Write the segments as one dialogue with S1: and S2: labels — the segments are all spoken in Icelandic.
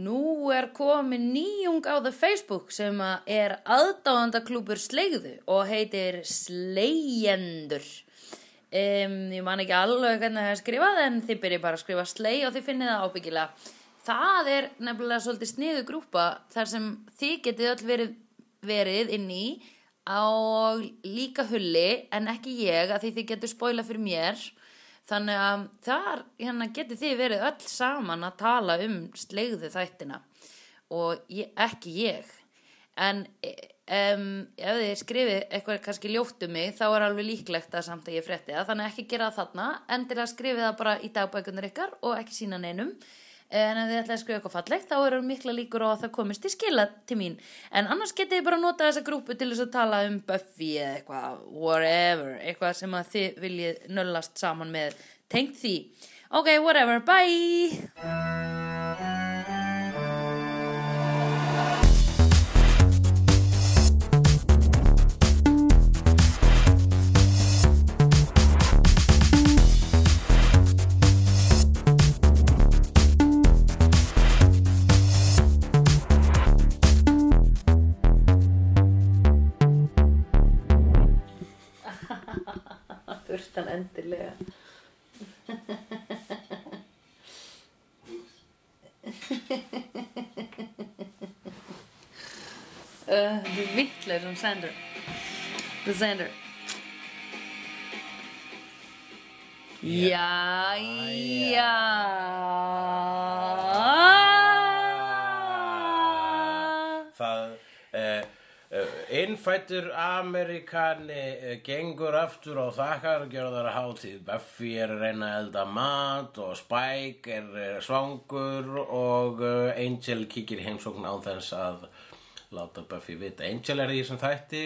S1: Nú er komin nýjung á það Facebook sem að er aðdáðandaklúpur Sleigðu og heitir Slegjendur. Um, ég man ekki alveg hvernig það er skrifað en þið byrjið bara að skrifa Sleig og þið finnið það ábyggilega. Það er nefnilega svolítið sniðu grúpa þar sem þið getið öll verið, verið inn í og líka hulli en ekki ég að því þið getur spóila fyrir mér þannig að þar hérna getið þið verið öll saman að tala um slegðu þættina og ég, ekki ég en um, ef þið skrifið eitthvað kannski ljótt um mig þá er alveg líklegt að samt að ég frétti það þannig að ekki gera það þarna endilega skrifið það bara í dagbækunar ykkar og ekki sína neinum en ef þið ætlaði að skrifa eitthvað fallegt þá eru mikla líkur á að það komist til skila til mín en annars getið þið bara að nota þessa grúpu til þess að tala um Buffy eða eitthvað whatever, eitthvað sem að þið viljið nöllast saman með tengt því ok, whatever, bye
S2: Þurftan endilega.
S1: uh, þú vittlega sem sendur the sender Jæja
S3: Það eh, eh, Innfættur Amerikani eh, gengur aftur á þakkargjörðar hátíð Buffy er að reyna að elda mat og Spike er, er svangur og eh, Angel kíkir í heimsókn á þess að láta Buffy vita Angel er í þessum þætti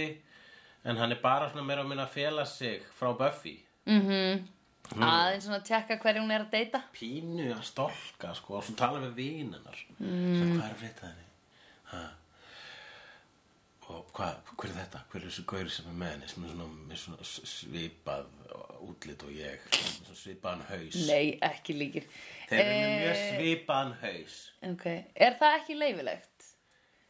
S3: en hann er bara svona meira að minna að fela sig frá Buffy Hmm.
S1: aðeins svona tjekka hverju hún er að deyta
S3: pínu að stolka sko, og svo tala við vinennar mm. hvað er að frétta henni ha. og hvað, hver er þetta hver er þessi gaur sem er með henni sem er svona, með svona s- svipað útlit og ég svona svipaðan haus
S1: nei, Eh. ekki líkir
S3: þeir eru með mjög svipaðan haus
S1: Ok, er það ekki leifilegt?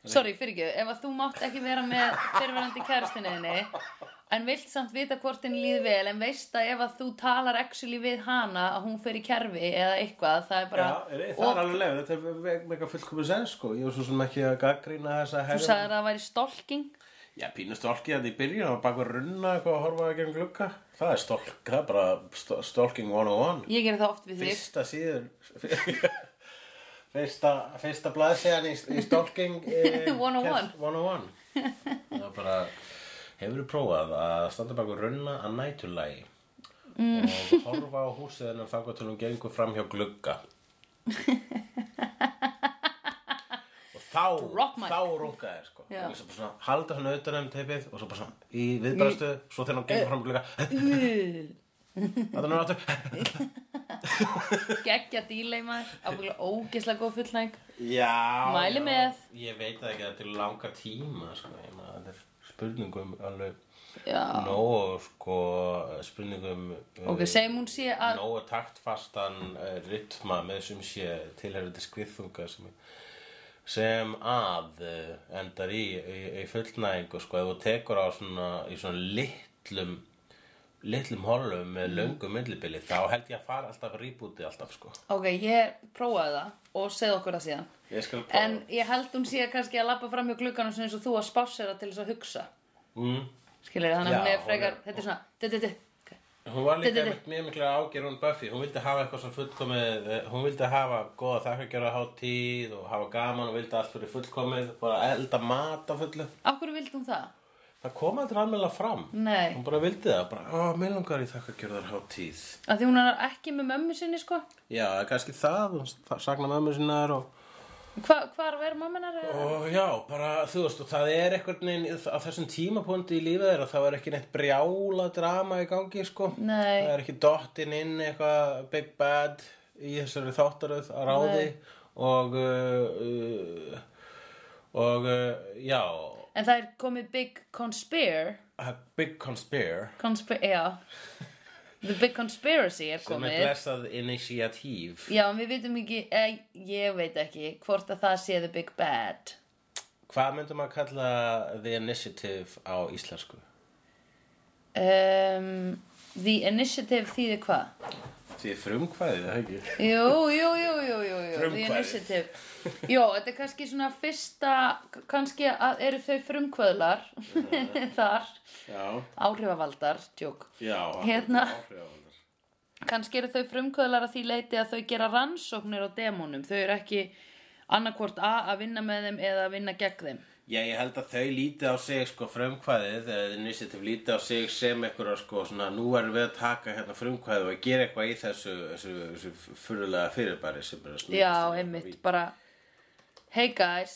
S1: Sorry, fyrir ekki, ef að þú mátt ekki vera með fyrirverandi kærastinniðinni en vilt samt vita hvort henni líði vel en veist að ef að þú talar actually við hana að hún fer í kerfi eða eitthvað, það er bara og
S3: alveg leið, þetta er mega fullkomun sen sko, ég var svo sem ekki að gaggrína þessa
S1: þú sagðir að það væri stalking
S3: Já, pínu stólki að því byrjun og baka runna eitthvað að horfa ekki um glugga það er stólk, það er bara stólking 101
S1: ég gerir það oft við þig
S3: fyrsta síður fyrsta, fyrsta blaðsíðan í, í stalking eh,
S1: 101.
S3: kemst- 101 það var bara hefur prófað að standa bak og runna að nætulægi
S1: Mm.
S3: og horfa á húsið hennar þangað til hún gengur fram hjá glugga og
S1: Drop
S3: þá
S1: mic.
S3: þá runga þér sko
S1: Já.
S3: og svo bara svona, halda hann auðvitað um teipið og svo bara svona í viðbæðastu svo þegar hann
S1: Eh.
S3: gengur fram hjá glugga að hann er aftur
S1: geggja dílei maður, ábygglega ógislega góð fullnæg
S3: Já,
S1: Mæli
S3: já.
S1: með.
S3: Ég veit það ekki að þetta er langa tíma sko, ég maður þetta er spurningum alveg
S1: Já,
S3: nóg sko, spurningum
S1: ok, segjum hún sé að
S3: nóg taktfastan uh, rytma með sem sé tilherrandi skriðþunga sem, sem að uh, endar í, í, í fullnæðingu sko, ef þú tekur á svona, í svona litlum litlum holum
S1: Mhm.
S3: með löngu myndlibili þá held ég að fara alltaf rýbúti alltaf sko.
S1: ok, ég prófaði það og segð okkur það síðan
S3: Ég skal prófa.
S1: En ég held hún sé kannski að lappa fram hjá glugganum sem eins og þú að spásera til þess að hugsa.
S3: mm.
S1: Skilur þið, þannig
S3: Já,
S1: að hún er
S3: hún
S1: frekar,
S3: er-
S1: þetta er svona, þetta, þetta,
S3: Hún var líka
S1: Þetta-
S3: einmitt mjög mikla ágjör hún Buffy, hún vildi hafa eitthvað sem fullkomið, eh, hún vildi hafa góða þakkargjörða hátíð og hafa gaman og vildi allt fyrir fullkomið, bara elda mat á fullu.
S1: af hverju vildi hún það?
S3: Það kom aldrei alveg fram,
S1: Nei,
S3: hún bara vildi það, bara, á, mér langar í þakkargjörðar hátíð.
S1: af því hún er ekki með mömmu sinni, sko.
S3: Já, það er kannski það, hún s- saknar mömmu sinnar og...
S1: Hva, hvar verður mamminar?
S3: Og já, bara þú veist, og það er eitthvað neginn á þessum tímapunkti í lífið þeirra, þá er ekki neitt brjála drama í gangi, sko.
S1: Nei.
S3: Það er ekki dottinn inn eitthvað big bad í þessari þáttaröð að ráði og, uh, uh, og uh, já,
S1: En það er komið big conspire,
S3: a big conspire.
S1: conspire, já. The Big Conspiracy er
S3: sem er
S1: komið
S3: blessað initiatív
S1: Já, en við veitum ekki, eh, ég veit ekki hvort að það sé The Big Bad
S3: Hvað myndum að kalla The Initiative á íslensku?
S1: um, The Initiative þýðir hvað?
S3: Því frumkvæðið, það ekki?
S1: Jú, jú, jú, jú, jú, jú The
S3: Frumkvæðið.
S1: Initiative Jó, þetta er kannski svona fyrsta kannski að eru þau frumkvöðlar þar
S3: Já,
S1: áhrifavaldar, tjók
S3: já.
S1: Hérna.
S3: áhrifavaldar.
S1: kannski eru þau frumkvöðlar að því leiti að þau gera rannsóknir á demónum þau eru ekki annarkvort A að vinna með þeim eða að vinna gegn þeim
S3: Já, ég held að þau líti á sig sko frumkvæðið, eða The Initiative líti á sig sem eitthvað sko svona nú erum við að taka hérna frumkvæðið og gera eitthvað í þessu, þessu, þessu fyrirlega fyrirbæri sem er að um snýta.
S1: Já, einmitt, bara Hey guys,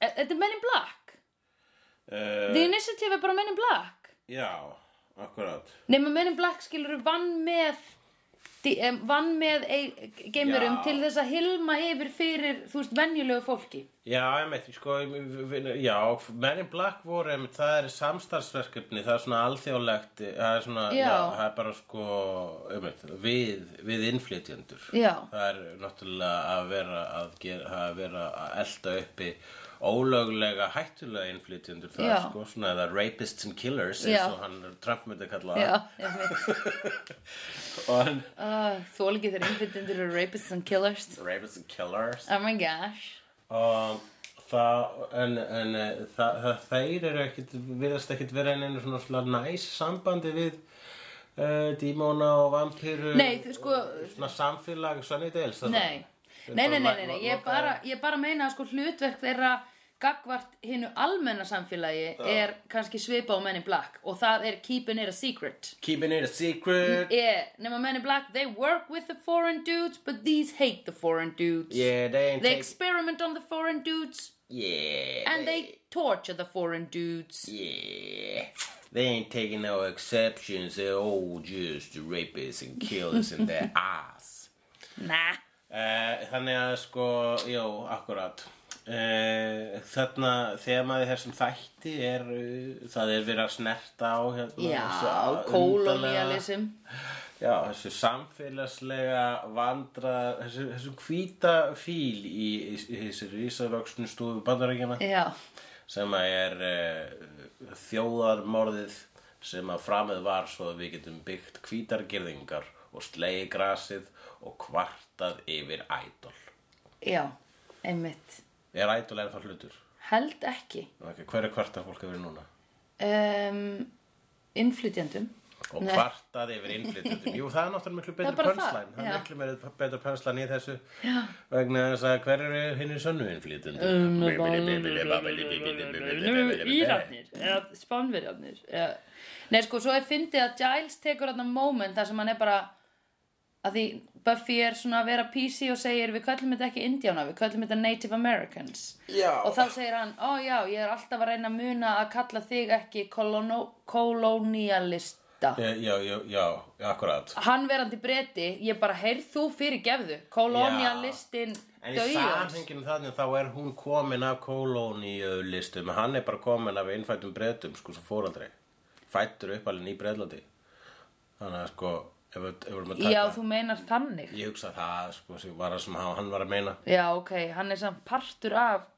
S1: E- þetta er Men in Black
S3: Eh.
S1: The Initiative er bara Men in Black
S3: já, akkurát.
S1: Nefnum Men in Black skilur vann með di- em, vann með ei- geimverum
S3: Já.
S1: til þess að hilma yfir fyrir, þú veist, venjulegu fólki
S3: Já, einmitt, sko, já, Men in Black voru, einmitt, það er samstarfsverkefni, það er svona alþjóðlegt, eh, það er svona,
S1: Já.
S3: það er bara sko, einmitt, við, við innflytjendur.
S1: Já.
S3: Það er náttúrulega að vera að, gera, að, vera að elda uppi ólöglega hættulega innflytjendur, það er
S1: Já.
S3: sko svona, eða rapists and killers,
S1: Já.
S3: eins og hann Trump myndi kalla
S1: Já,
S3: það.
S1: einmitt
S3: Og hann,
S1: uh, Þú alveg þeir innflytjendur eru rapists and killers
S3: rapists and killers.
S1: Oh my gosh
S3: og það en, en eh, það, það, þeir eru ekkit virðast ekkit vera en einu svona, svona næs sambandi við uh, dímóna og vampíru
S1: Nei, þú sko-
S3: svona samfélag Sunnydales það
S1: Nei,
S3: Þeir
S1: nei, nei, nei,
S3: bara
S1: nei,
S3: lo-
S1: nei. Ég,
S3: lokaðir.
S1: bara, ég bara meina að sko hlutverk þeirra gagvart hinnu almenna samfélagi er kannski svipa á Men in Black og það er keeping it a secret
S3: keeping it a secret
S1: yeah, nema Men in Black, they work with the foreign dudes but these hate the foreign dudes
S3: yeah, they ain't
S1: they
S3: take,
S1: experiment on the foreign dudes
S3: yeah,
S1: and they torture the foreign dudes
S3: yeah they ain't taking no exceptions they're all just rapists and killers in their ass
S1: nah,
S3: Eh, þannig að sko, jú, akkurat uh, þarna þemaði þessum þætti er eh, það er verið að snerta á hérna, þessu
S1: já,
S3: á- undarlega-
S1: kolonialism
S3: já, þessu samfélagslega vandra þessu, þessu hvíta fíl í, í, í þessu rísavöksnu stofu bandarækjana
S1: já,
S3: sem að er uh, þjóðarmorðið sem að framið var svo að við getum byggt hvítar girðingar og slegið grasið og kvartað yfir ædol
S1: já, einmitt
S3: Er ædol ennþá hlutur?
S1: held ekki
S3: Okay, hver er kvartað fólk yfir núna?
S1: um, innflytjandum
S3: Og kvartað yfir innflytjandum. Jú, það er náttúrulega miklu
S1: Það er
S3: betur
S1: bara
S3: pönslæn.
S1: það,
S3: Það er
S1: já.
S3: miklu meira- betur pönslæn í þessu. Já. Vegna þess að hver eru hinn er sönnu innflytjandum?
S1: Írarnir eða Spánverjarnir eða... Nei sko, svo er fyndið að Giles tekur þarna moment þar sem hann er bara að því Buffy er svona að vera PC og segir við köllum þetta ekki Indiana, við köllum þetta Native Americans
S3: Já.
S1: og þá segir hann, ó já, ég er alltaf að reyna að muna að kalla þig ekki kolono, kolonialista
S3: Já, já, já, já, akkurat.
S1: hann verandi breyti, ég bara heyrð þú fyrir gefðu, kolonialistin
S3: En í
S1: dauðans.
S3: samhenginu þannig þá er hún komin af kolóníulistum, hann er bara komin af innfættum breytum, sko, sem fóraldri. Fættur uppalinn í breytlandi. Þannig að sko, ef við ef við erum að taka...
S1: Já, þú meinar þannig
S3: Ég hugsa það, sko, sem var að sem hann hann var að meina.
S1: Já, ok, hann er samt partur af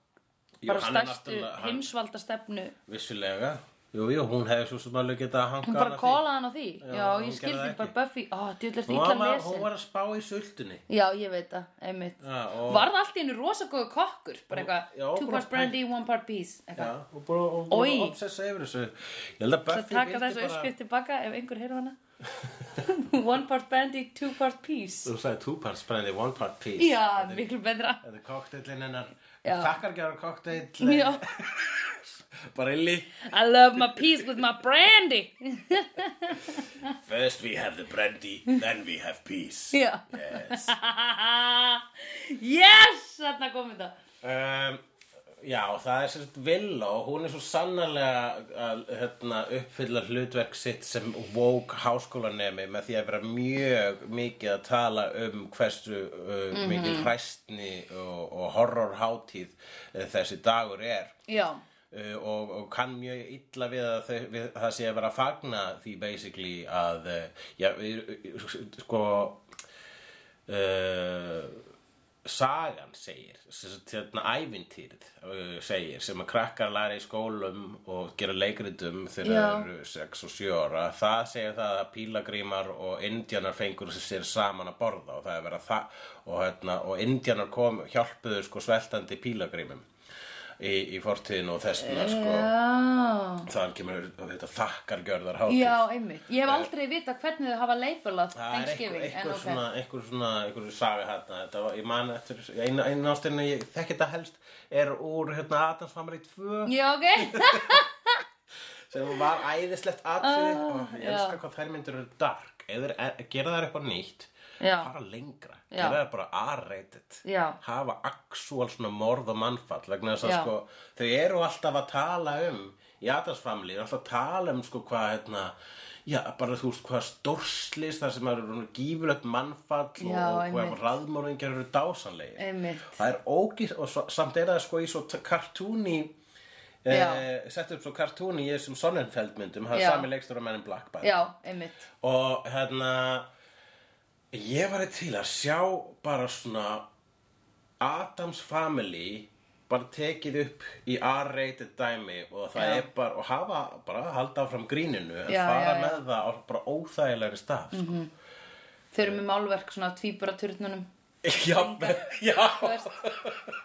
S3: Jú,
S1: bara
S3: hann er
S1: stærstu
S3: náttúrulega- hann-
S1: heimsvalda stefnu
S3: Vissulega. Jú, jú, hún hefði svo sem alveg getað að hanga
S1: Hún bara
S3: hana því.
S1: kólaði hann á því Já, ég
S3: hún gerði
S1: skildi
S3: það
S1: ekki. bara
S3: ekki.
S1: Buffy Ó, djúlega
S3: Hún
S1: illa
S3: var- Hún
S1: lesin
S3: var að spá í sultunni.
S1: Já, ég veit það, einmitt
S3: Já, og-
S1: Varð allt í henni rosa góðu kokkur Bara eitthvað,
S3: já,
S1: two
S3: bara
S1: parts brandy, one part peace Eitthvað
S3: Já, og bara, og bara
S1: Oj.
S3: obsessa yfir þessu. Ég held að
S1: Svo
S3: Buffy
S1: taka
S3: vildi
S1: þessu uppskrift tilbaka ef einhver heyrðu hana One part brandy, two part peace
S3: Þú sagði two parts brandy, one part peace.
S1: Já, miklu betra
S3: Þetta er kokteillin hennar.
S1: Já.
S3: Þakkar gerðar kokteill. eh,
S1: Já,
S3: Bara illi.
S1: I love my peace with my brandy
S3: First we have the brandy, then we have peace.
S1: Já
S3: Yes.
S1: Yes, þarna komið það
S3: Um, já, það er sérst Villa og hún er svo sannarlega að hérna, uppfylla hlutverk sitt sem vók háskólanemi með því að vera mjög mikið að tala um hversu uh,
S1: Mhm.
S3: mikil hræstni og, og horrorhátíð eh, þessi dagur er.
S1: Já,
S3: uh, og, og kann mjög illa við að þau, við, það sé að vera að fagna því basically að uh, já, uh, sko uh, sagan segir sem sagt, hérna ævintýrið uh, segir sem að krakkar læra í skólum og gera leikritum þegar
S1: Já.
S3: þau eru 6 og 7 ára það segir það að pílagrímar og indjanar fengur sér saman að borða og það er verið að það og, hérna, og indjanar kom, hjálpuðu sko sveltandi pílagrímum í, í fortíðin og þess vegna sko
S1: Já.
S3: þaðan kemur þetta þakkargjörðar hátíð
S1: Já, einmitt. Ég hef aldrei vita hvernig þau hafa leipulað
S3: Það er
S1: Thanksgiving.
S3: einhver, einhver,
S1: en ok.
S3: svona, einhver svona, einhver saga hérna, þetta var, ég man eftir, einu, einu ástinni, ég þekki þetta helst, er úr hérna Adams Family 2,
S1: Já, ok.
S3: sem var æðislegt atrið
S1: Ah,
S3: og ég
S1: já.
S3: elska hvað þær myndir eru dark, eða er, gera þær eitthvað nýtt,
S1: Já.
S3: fara lengra,
S1: Já.
S3: gera þær bara R-rated,
S1: Já.
S3: hafa actual svona morð og mannfall, vegna þess að
S1: Já.
S3: sko, þau eru alltaf að tala um, í Adams Family, eru alltaf að tala um sko hvað hérna, Já, bara þú veist hvað stórslis þar sem eru gífulegt mannfall og-
S1: Já,
S3: og hvað
S1: einmitt.
S3: raðmóringjar eru dásanlegir
S1: Einmitt.
S3: það er ógís og svo, samt er það sko í svo t- kartúni
S1: Já.
S3: eh, sett upp svo kartúni í þessum Sonnenfeld myndum það
S1: Já.
S3: er sami leikstur á mennum Black Band
S1: Já, einmitt.
S3: og hérna ég var til að sjá bara svona Adams Family bara tekið upp í R-rated dæmi og það
S1: Já.
S3: er bara og hafa bara að halda áfram gríninu en
S1: Já,
S3: fara
S1: já, Mhm. já.
S3: með það á bara óþægilegri stað sko.
S1: Þau eru með málverk svona tvíburaturnunum.
S3: já,
S1: Þú
S3: já
S1: veist,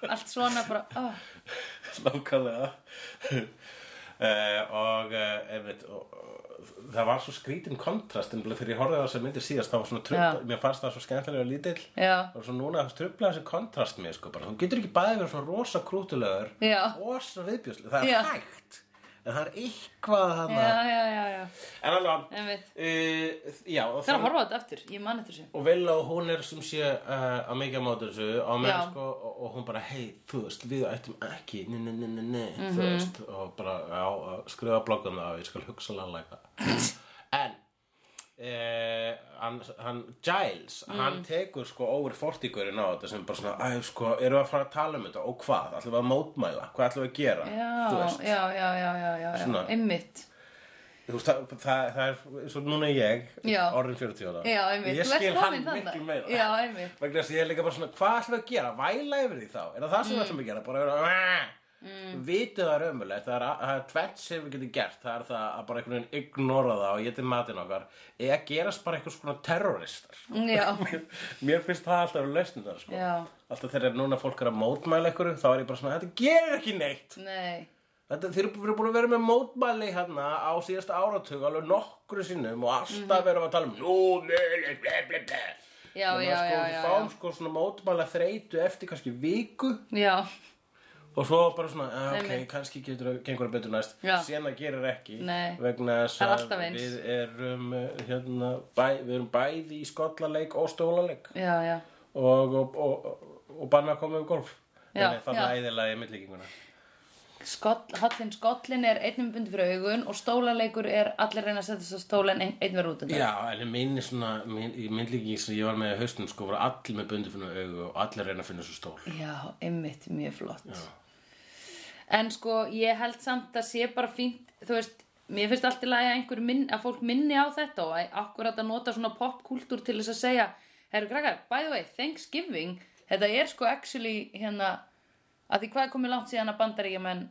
S1: allt svona bara, oh,
S3: Nákvæmlega uh, Og uh, einmitt og, og, Það var svo skrítin kontrast en þegar ég horfði á þess að myndir síðast þá var svona trubla, mér fannst það svo skemmtilega lítill
S1: Já.
S3: og svo núna trubla þessi kontrast mér sko bara, þú getur ekki bæði verið svona rosa krútulegur
S1: Já.
S3: og svona viðbjörslega, það er
S1: Já.
S3: hægt en það er eitthvað
S1: já,
S3: þannig
S1: já, já, já,
S3: en alveg
S1: einmitt.
S3: uh, já,
S1: Það
S3: og
S1: er
S3: þann-
S1: að horfa á þetta aftur, ég man eftir þessu.
S3: og Villa og hún er sem sé uh, að mikið á móti þessu á meðan
S1: Já.
S3: sko og, og hún bara hei þú veist við ættum ekki nei nei nei nei nei
S1: Mhm.
S3: þú veist og bara já, að skrifa blogg um það og ég skal hugsa laglega en Eh, hann, hann Giles
S1: Mhm.
S3: hann tekur sko over 40 gurinn á þetta sem bara svona, æ sko, erum við að fara að tala um þetta og hvað, ætlum við að mótmæla hvað ætlum við að gera, þú
S1: Já,
S3: veist
S1: já, já, já, já, já, já,
S3: Svona.
S1: einmitt.
S3: Þú veist, það, það, það er, svo núna er ég,
S1: Já.
S3: orðin 40 ára,
S1: Já, einmitt.
S3: ég
S1: Þú ert
S3: skil hann
S1: komin þarna.
S3: miklu meira.
S1: Já, einmitt.
S3: Vegna þess að ég er líka bara svona, hvað ætlum við að gera, væla yfir því þá? Er það það sem við ætlum að gera, bara að vera, mm. vitið það er ömulegt, það er, það er tvert sem við getum gert, það er það að bara einhvern veginn ignora það og geta matinn okkar, eða gerast bara einhvers konar terroristar.
S1: Já,
S3: Mér finnst það alltaf að lausnum það, sko.
S1: Já.
S3: Alltaf þegar núna fólk er að mótmæla ykkur, þá er ég bara svona, þetta gerir ekki neitt.
S1: nei,
S3: Þetta, þeir eru búin að vera með mótmæli hérna á síðasta áratug alveg nokkru sinnum og alltaf erum við að tala um nú, nú, ble, ble, ble.
S1: Mhm. já, já, já,
S3: sko,
S1: já,
S3: við
S1: já,
S3: fáum sko svona mótmæla þreytu eftir kannski viku
S1: já,
S3: og svo bara svona, eh, ok,
S1: Einmitt.
S3: kannski getur það gengur það betur næst,
S1: Já.
S3: sena gerir ekki
S1: Nei.
S3: vegna þess
S1: Það er
S3: að
S1: alltaf eins.
S3: við erum, eh, hérna, bæ, við erum bæði í skollaleik og stólaleik
S1: já, já.
S3: og, og, og, og, og banna að koma um golf
S1: Já,
S3: þannig þannig
S1: já.
S3: æðilega í millíkinguna
S1: Skoll, Hollin skollin er einnum bundi fyrir augun og stólaleikur er allir reyna að setja svo stólan einn, einn verður út undan.
S3: Já, en minni svona, minni, myndlíking sem ég var með í haustum sko voru allir með bundi fyrir augu og allir reyna að finna svo stól.
S1: Já, einmitt, mjög flott. En sko, ég held samt að sé bara fínt, þú veist, mér finnst allt í lagi að, einhver minn, að fólk minni á þetta og að akkurat að nota svona popkúltúr til þess að segja, herru krakkar, by the way, Thanksgiving, þetta er sko actually hérna, að því hvað er komið langt síðan að bandaríkjamenn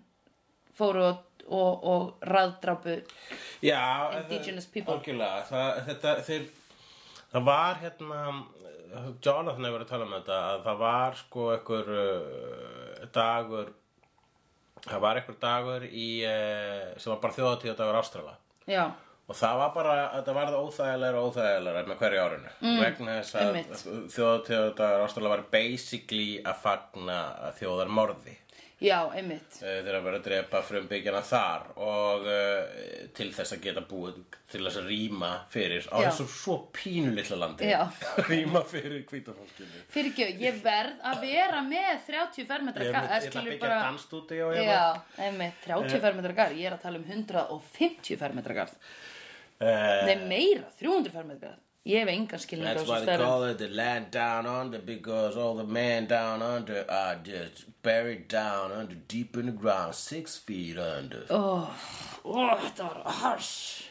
S1: fóru og, og, og raðdrapu,
S3: Já,
S1: Indigenous
S3: það-
S1: people.
S3: Algjörlega, það, þetta, þeir, það var hérna, Jonathan hefur verið að tala um þetta, að það var sko einhver uh, dagur, það var einhver dagur í, uh, sem var bara þjóðatíða dagur Ástrala.
S1: já,
S3: Og það var bara, þetta varð óþægilegra og óþægilegra með hverju árinu. Mm, vegna þess að
S1: einmitt.
S3: þjóðatíðardagur ástæðlega var basically að fagna þjóðarmorði.
S1: já, einmitt,
S3: Eh, Þeir að vera að drepa frumbyggjana þar og uh, til þess að geta búið til þess að rýma fyrir á
S1: Já.
S3: þessu svo pínulitla landi.
S1: Já.
S3: rýma fyrir hvítafólkinu.
S1: fyrirgjöf, ég verð að vera með 30 fermetra
S3: Ég
S1: gar,
S3: ætla
S1: eða
S3: að
S1: skilur
S3: byggja hérna. bara... dansstúti og ég
S1: Já, einmitt,
S3: Eh.
S1: 30 fermetra garð, ég er að tala um 150 fermetra garð
S3: var.
S1: Nei, meira, 300 fermetra garð Ég hef engan skilning á
S3: Eh. That's
S1: þessu
S3: why they
S1: stærðum.
S3: call it the land down under because all the men down under are just buried down under deep in the ground, six feet under.
S1: Ó, ó, þetta var harsh.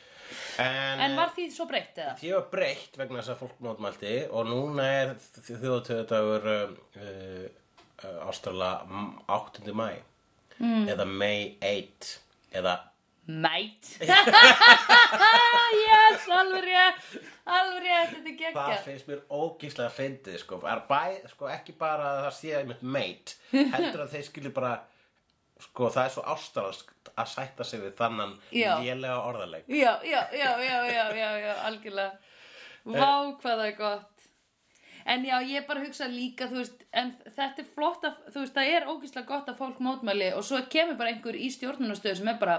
S1: En var því svo breytt eða?
S3: uh, Því var breytt vegna þess að fólk mótmælti og núna er þjóðatöðudagur um, uh, uh, Ástrala m- 8. mæ mm. eða May 8 eða
S1: Mætt. yes, alveg rétt. Alveg rétt, þetta er
S3: það
S1: geggjað.
S3: finnst mér ógíslega fyndið sko. Er bæ, sko ekki bara að það sé einmitt meit heldur að þeir skilji bara sko það er svo ástralsk að sætta sig við þannan
S1: Já.
S3: lélega orðaleg
S1: Já, já, já, já, já, já, já, algjörlega.
S3: Eh.
S1: Vá, hvað það er gott. En já, ég bara hugsa líka, þú veist, en þetta er flott að, þú veist, það er ógeðslega gott að fólk mótmæli og svo kemur bara einhver í stjórnunastöðu sem er bara,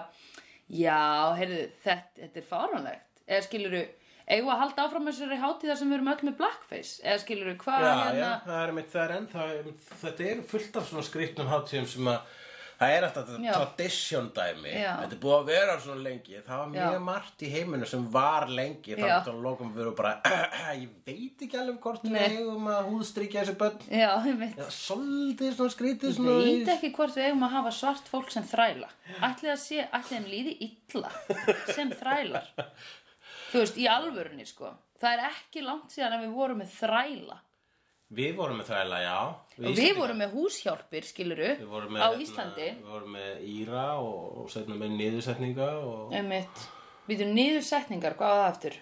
S1: já, heyrðu, þetta, þetta er fáránlegt. Eða skilurðu, eigum við að halda áfram þessari hátíðar sem við erum öll með blackface? Eða skilurðu, hvað
S3: Já,
S1: hérna?
S3: já, það er mitt, það er ennþá, einmitt- þetta eru fullt af svona skrýtnum hátíðum sem að það er alltaf
S1: Já.
S3: þetta tradition dæmi,
S1: Já.
S3: þetta er búið að vera svona lengi, það var mjög
S1: Já.
S3: margt í heiminu sem var
S1: Já.
S3: lengi, þannig að lokum við erum bara, ég veit ekki alveg hvort við
S1: Nei.
S3: eigum að húðstrykja þessi börn,
S1: Já, ég veit.
S3: eða svolítið svona skrýtið svona, í-
S1: Veit ekki hvort við eigum að hafa svart fólk sem þræla. Ætli það sé, ætli þeim líði illa sem þrælar. Þú veist, í alvörunni sko. Það er ekki langt síðan að við vorum með þræla.
S3: við vorum með þræla, já,
S1: Og við
S3: Íslendingar.
S1: vorum með húshjálpir, skiluru,
S3: Við vorum
S1: á
S3: hérna,
S1: Íslandi.
S3: Við vorum með Íra og, og setna með niðursetninga og
S1: Einmitt. Við erum niður setningar, hvað var það aftur?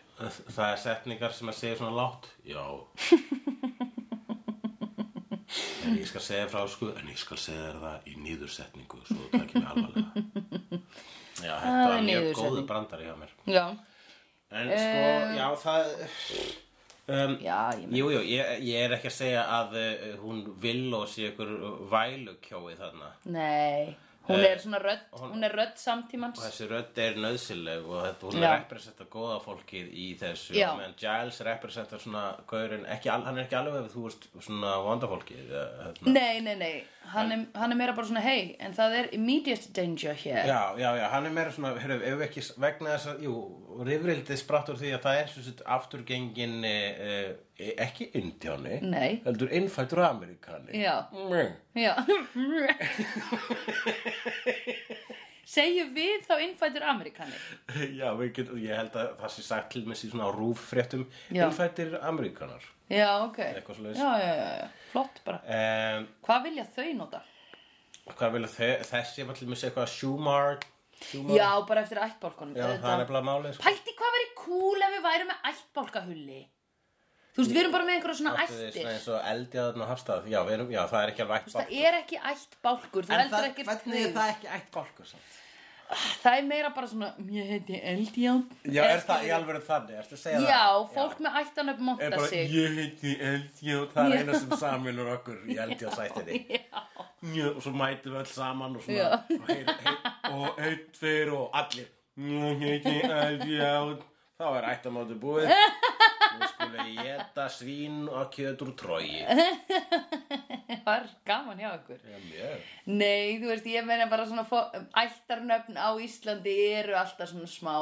S3: það er setningar sem að segja svona látt. Já. en ég skal segja frá sko, en ég skal segja þér það í niðursetningu, svo það ekki með alvarlega. Já, þetta
S1: Það
S3: var
S1: er
S3: mjög góðu
S1: niðursetning. Eh.
S3: brandari hjá mér.
S1: Já,
S3: En sko, já, það... Um,
S1: já, ég meina.
S3: Jú, jú, ég, ég er ekki að segja að uh, hún vill og sé ykkur vælukjói þarna.
S1: Nei, hún er svona rödd, hún er rödd samtímans.
S3: og þessi rödd Eh, er nöðsileg og þetta, hún
S1: Já.
S3: representar góða fólkið í þessu
S1: Já.
S3: og meðan Giles representar svona gaurin, ekki, al- hann er ekki alveg þú veist svona vandafólkið eh, hérna.
S1: Nei, nei, nei, hann er, hann er meira bara svona, hei, en það er immediate danger hér.
S3: já, já, já, hann er meira svona heyrðu, ef við ekki s- vegna þess að, jú rifrildið spratt úr því að það er svo sett afturgengin e, e, ekki indjáni,
S1: Nei.
S3: heldur innfættur ameríkani
S1: Já.
S3: Mm.
S1: Já Segjum við þá innfættur Amerikani
S3: já við getum, ég held að það sé sagt til með sér svona rúffréttum
S1: Já.
S3: innfættir ameríkanar
S1: Já, ok
S3: Eitthvað svoleiðis.
S1: já, já, já, já, flott bara
S3: um,
S1: Hvað vilja þau nota?
S3: Hvað vilja þau, þessi var til mér segja eitthvað Schumar Schumar-
S1: Já, bara eftir ættbálkunum
S3: Já, það er nefnilega málið sko.
S1: Pælti hvað verið cool ef við værum með ættbálkahulli Þú veist, við erum bara með einhverja svona
S3: Áttu þið
S1: ættir
S3: svona eins og eldjaðan og hafstað já, við erum, já, það er ekki alveg ætt
S1: Það er ekki ættbálkur Það heldur ekki
S3: hvernig er það ekki ætt bálkur samt?
S1: það er meira bara svona Ég heiti Eldján
S3: Já, er það í alveg þannig, ertu að segja
S1: Já,
S3: það?
S1: fólk með ættanöfn
S3: Er
S1: monta
S3: bara,
S1: sig
S3: ég heiti Eldjáð, það er eina sem saminur okkur í Eldjáðsættinni. Já, og svo mætum við öll saman og svona,
S1: Já.
S3: og, heyr, heyr, og einn, tveir og allir. Ég heiti Eldjáð, þá er ættamátu búið. Nú skulum við geta svín og kjöt úr trói.
S1: Það er gaman hjá ykkur
S3: Já, mjög.
S1: Nei, þú veist, ég meina bara svona fó- ættarnöfn á Íslandi eru alltaf svona smá,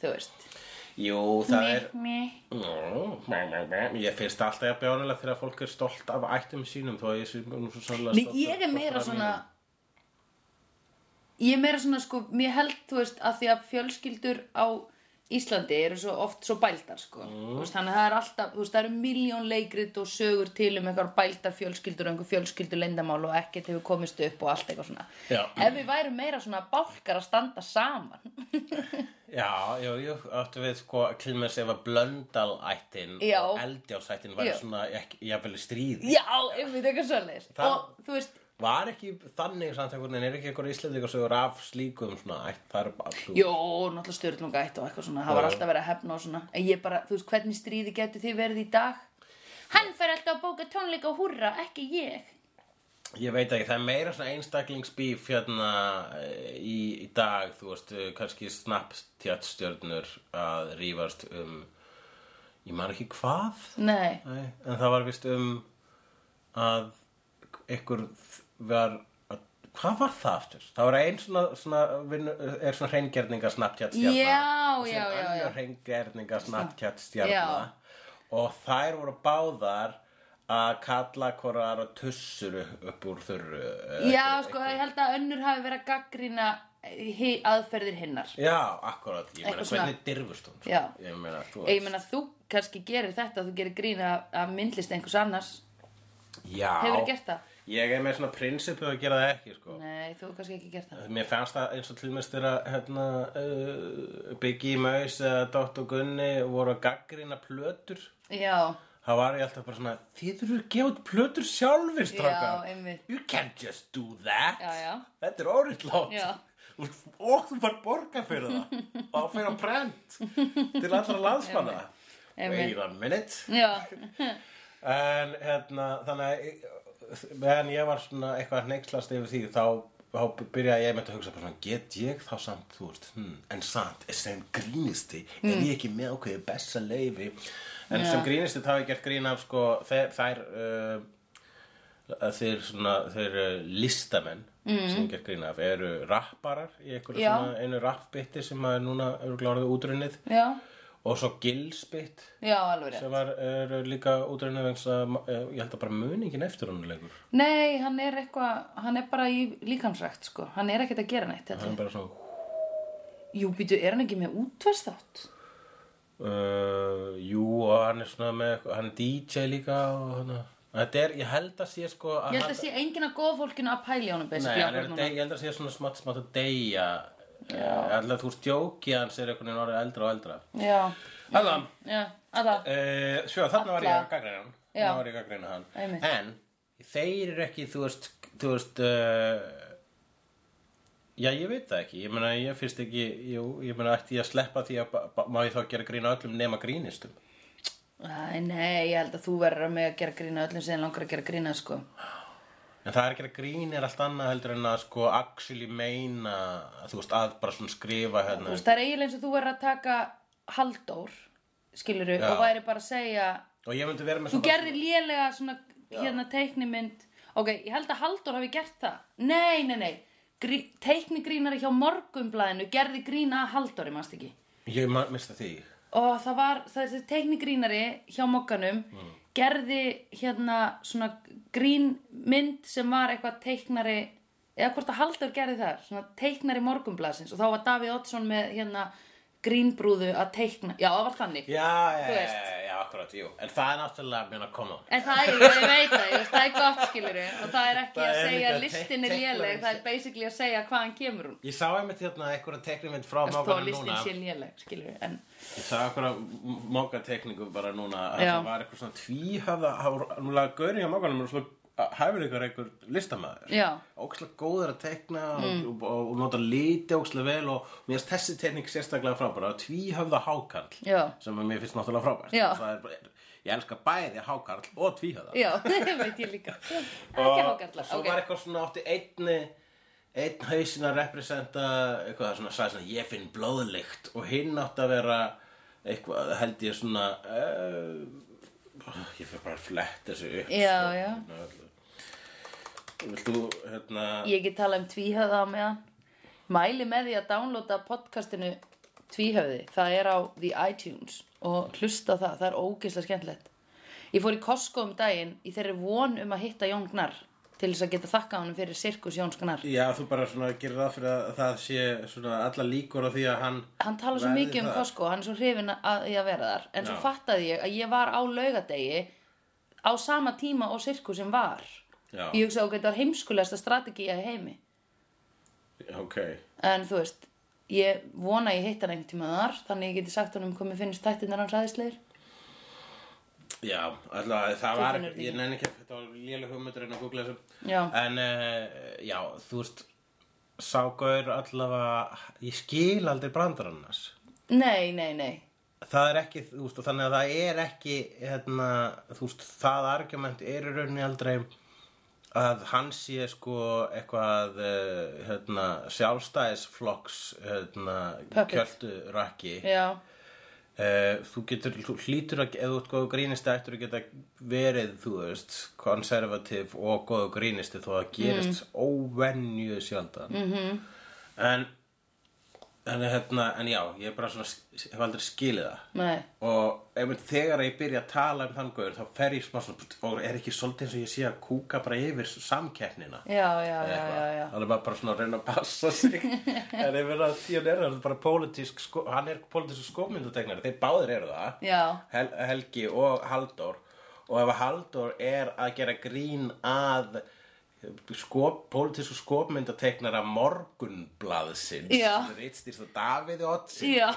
S1: þú veist.
S3: Jú, það er...
S1: Meh, meh.
S3: Ég finnst alltaf að bjánilegt þegar fólk er stolt af ættum sínum þó að ég sé nú svo sannlega
S1: Nei,
S3: stolt
S1: ég er
S3: af-
S1: meira
S3: af
S1: svona,
S3: mínum.
S1: ég er meira svona, sko, mér held, þú veist, að því að fjölskyldur á Íslandi eru svo oft svo bæltar, sko.
S3: Mm.
S1: Þú veist, þannig að það er alltaf, þú veist, það eru miljón leikrit og sögur til um einhver bæltar fjölskyldur og einhver fjölskyldur leyndamál og ekkert hefur komist upp og allt eitthvað svona.
S3: Já.
S1: Ef við værum meira svona bálkar að standa saman.
S3: Já, jú, jú, áttu við sko til með að segja að blöndalættin
S1: Já.
S3: og eldjáðsættin væri
S1: Já.
S3: svona ekki, jafnvel í stríð
S1: Já, einmitt eitthvað svoleiðis.
S3: Það-
S1: Og, þú veist,
S3: Var ekki þannig samt einhvern veginn, er ekki einhver íslendingar sögur af slíkum svona ætt, það er bara alltaf
S1: Jó, náttúrulega stjórnlunga eitt og eitthvað svona Það var
S3: Já.
S1: alltaf verið að hefna og svona En ég bara, þú veist, hvernig stríði getur þið verið í dag? Hann fer alltaf að bóka tónleika og húrra, ekki ég
S3: Ég veit ekki, það er meira svona einstaklingsbíf hérna eh, í, í dag, þú veist, eh, kannski snapptjáttstjörnur að rífast um, ég man ekki hvað,
S1: Nei,
S3: Nei, en það var vist um að ykkur þ- var, að, hvað var það aftur? Það var ein svona, svona vinnu, er svona hreingerninga snapptjáttstjörna
S1: Já, já, já, já.
S3: Önnur hreingerninga snapptjáttstjörna
S1: Já.
S3: og þær voru báðar að kalla hvorar að tussur upp úr þurru eh,
S1: Já, sko, ég held að önnur hafi verið að gaggrina aðferðir hinnar.
S3: Já, akkurat, ég meina
S1: Eitthvað svona-
S3: hvernig dirfust hún sko?
S1: Já.
S3: Ég meina, þú
S1: Ég meina, þú kannski gerir þetta, þú gerir grína að myndlist einhvers annars.
S3: Já
S1: Hefurðu gert það?
S3: Ég er með svona prinsipu að gera það ekki sko.
S1: Nei, þú hefur kannski ekki gert það.
S3: Mér fannst það eins og til mér styrir að hérna, uh, Biggie Maus eða Dr. Gunni voru að gaggrina plötur
S1: Já,
S3: Það var ég alltaf bara svona Þið eru að gefa út plötur sjálfir strákar
S1: Já, einmitt.
S3: You can't just do that
S1: Já, já.
S3: Þetta er óriðlátt
S1: Já.
S3: Og þú fær borga fyrir það Og það fyrir á prent Til allra landsmanna
S1: Einmitt.
S3: Wait a minute
S1: já,
S3: En hérna, þannig að meðan ég var svona eitthvað hneykslast yfir því þá, þá byrjaði ég með að hugsa bara svona, get ég þá samt, þú veist, hm, en samt, sem grínisti, er ég ekki með okkur besta leifi, en sem grínisti þá hef ég gert grín af, sko, þær, þær uh, að þeir svona, þeir uh, listamenn sem ég gert grín af, eru rapparar í einhverju
S1: Já.
S3: svona, einu rappbytti sem að er núna eru gláraði útrunnið
S1: já,
S3: og svo gilsbytt
S1: já, alveg rétt.
S3: sem var, er líka útreinu vegna þess að eh, ég held að bara muningin eftir honum leikur
S1: Nei, hann er eitthvað, hann er bara í líkamsrækt, sko. Hann er ekkert að gera neitt.
S3: hann
S1: Hann...
S3: er bara svona
S1: Jú, býtu, er hann ekki með útversþátt?
S3: uh, jú og hann er svona með eitthvað- hann er DJ líka og hann þetta er, ég held að sé sko
S1: Ég held að sé enginn af góða fólkinu að pæli honum,
S3: nei,
S1: basically.
S3: hann er,
S1: akkur núna.
S3: dey, ég held að sé svona smátt smátt að deyja alltaf þú veist djóki hans er einhvern veginn orðið eldra og eldra
S1: Já,
S3: allan
S1: já, aða,
S3: Uh, svo þarna var ég að gaggræna hann
S1: Já.
S3: Þarna var ég að gaggræna hann
S1: Einmitt.
S3: En þeir eru ekki, þú veist, þú veist uh, Já, ég veit það ekki Ég meina, ég finnst ekki Jú, ég meina, ætti ég að sleppa því að ba- ba- Má ég þá gera grína öllum nema grínistum
S1: Æ, nei, ég held að þú verður með að gera grína öllum sem þig langar að gera grína, sko.
S3: En það er ekki að grín er allt annað heldur en að sko actually meina Þú veist, að bara svona skrifa
S1: Þú
S3: hérna
S1: veist, það er eiginlega eins og þú verður að taka Halldór, skiluru,
S3: Já.
S1: og væri bara að segja,
S3: Og ég myndi vera með
S1: þú
S3: svona
S1: gerðir lélega svona, hérna, teiknimynd. Ok, ég held að Halldór hafi gert það. Nei, nei, nei, Grí, teiknigrínari hjá morgumblæðinu gerði grína að Halldóri, mannst ekki.
S3: Ég ma- mista því
S1: Og það var, þessi teiknigrínari hjá mokkanum gerði hérna svona grínmynd sem var eitthvað teiknari, eða hvort að Halldór gerði það, svona teiknari morgunblasins og þá var Davíð Oddsson með hérna grínbrúðu að teikna, já það var þannig.
S3: Já, já,
S1: Þú
S3: já,
S1: veist.
S3: já, já, akkurat, jú En það er náttúrulega, meina, koma on
S1: En það er, ég veit það, ég veist, það er gott skiluru og það er ekki
S3: Það
S1: að
S3: er
S1: segja
S3: líka
S1: að listin er léleg,
S3: teik- teiknarinn
S1: það er basically að segja hvaðan kemur hún.
S3: Ég sá einmitt hérna einhverja teknimynd frá
S1: Þess þó að
S3: mákanum
S1: listin
S3: núna.
S1: sé léleg, skiluru, en
S3: Ég sá einhverja mákatekningu bara núna að
S1: Já.
S3: það var eitthvað svona tvíhafða, það var núlega gaurið hjá mákanum og svo hæfur ykkur einhver listamæður.
S1: já, Mm.
S3: Ókslega góður að tekna og, og, og nota liti ókslega vel og mér finnst þessi tekning sérstaklega frábæra. Tvíhafða hákarl
S1: Já.
S3: sem að mér finnst náttúrulega frábært.
S1: Já.
S3: Það er bara, ég elska bæði hákarl og tvíhafða.
S1: já, það veit ég líka. Já, Ekki
S3: og,
S1: hákarlar,
S3: og svo
S1: ok.
S3: var eitthvað svona átti einni einn hausin að representa eitthvað svona sagði svona ég finn blóðlykt og hinn átti að vera eitthvað held ég svona uh, ég fyrir bara að fletta þessu upp
S1: Já,
S3: sko,
S1: já.
S3: hérna, öllu. Vilt þú, hérna,
S1: Ég get talað um tvíhöfða á meðan. Mæli með því að downloada podcastinu tvíhöfði. Það er á The iTunes og hlusta á það. Það er ógeðslega skemmtilegt. Ég fór í Costco um daginn í þeirri von um að hitta Jón Gnar til þess að geta þakka honum fyrir sirkus Jóns Gnar.
S3: já, þú bara svona gerir það fyrir að það sé svona alla líkur á því að hann
S1: Hann talar svo
S3: verði
S1: mikið um
S3: það.
S1: Costco, hann er svo hrifinn að, í að vera þar. En svo
S3: Já.
S1: fattaði ég að ég var á laugadegi á sama tíma og sirkus sem var.
S3: Já,
S1: Ég hugsaði okkur, þetta var heimskulegasta strategía í heimi.
S3: ok
S1: En þú veist, ég vona að ég hitt hann einhvern tíma þar, þannig ég geti sagt honum hvað mér finnst þættirnar hans aðeinsleir.
S3: Já, allavega það
S1: Þú
S3: var,
S1: finnur þetta
S3: ég
S1: ekki.
S3: nenni ekki, þetta var léleg hugmyndur en að googla þessu
S1: Já.
S3: En uh, já, þú veist, ságaur allavega, ég skil aldrei brandar annars
S1: Nei, nei, nei.
S3: Það er ekki, þú veist, og þannig að það er ekki, hérna, þú veist, það argument er í rauninni aldrei að hann sé sko eitthvað, uh, hérna, sjálfstæðisflokks, hérna,
S1: Puppet.
S3: kjöldu rakki
S1: Já,
S3: Eh, þú getur, þú hlýtur að, ef þú ert góðu grínisti, ættur að geta verið, þú veist, konservativ og góðu grínisti þó að það gerist óvenju sjaldan. Mm -hmm. En en, hérna, en já, ég er bara svona hef aldrei skilið það
S1: Nei.
S3: og einmitt þegar ég byrja að tala um þann guður þá fer ég smá svona og er ekki svolítið eins og ég sé að kúka bara yfir samkeppnina
S1: Já, já, já,
S3: Eða
S1: já,
S3: eitthvað.
S1: já.
S3: hann er bara, bara svona að reyna að passa sig en ef hann síðan er hann bara pólitísk sko, hann er pólitísk skómyndutegnari þeir báðir eru það
S1: Já.
S3: Hel, Helgi og Halldór og ef Halldór er að gera grín að sko, skop, pólitísku skopmyndateiknara morgunblaðsins
S1: Já.
S3: rittstýrst að Davíði Ottsins
S1: Já.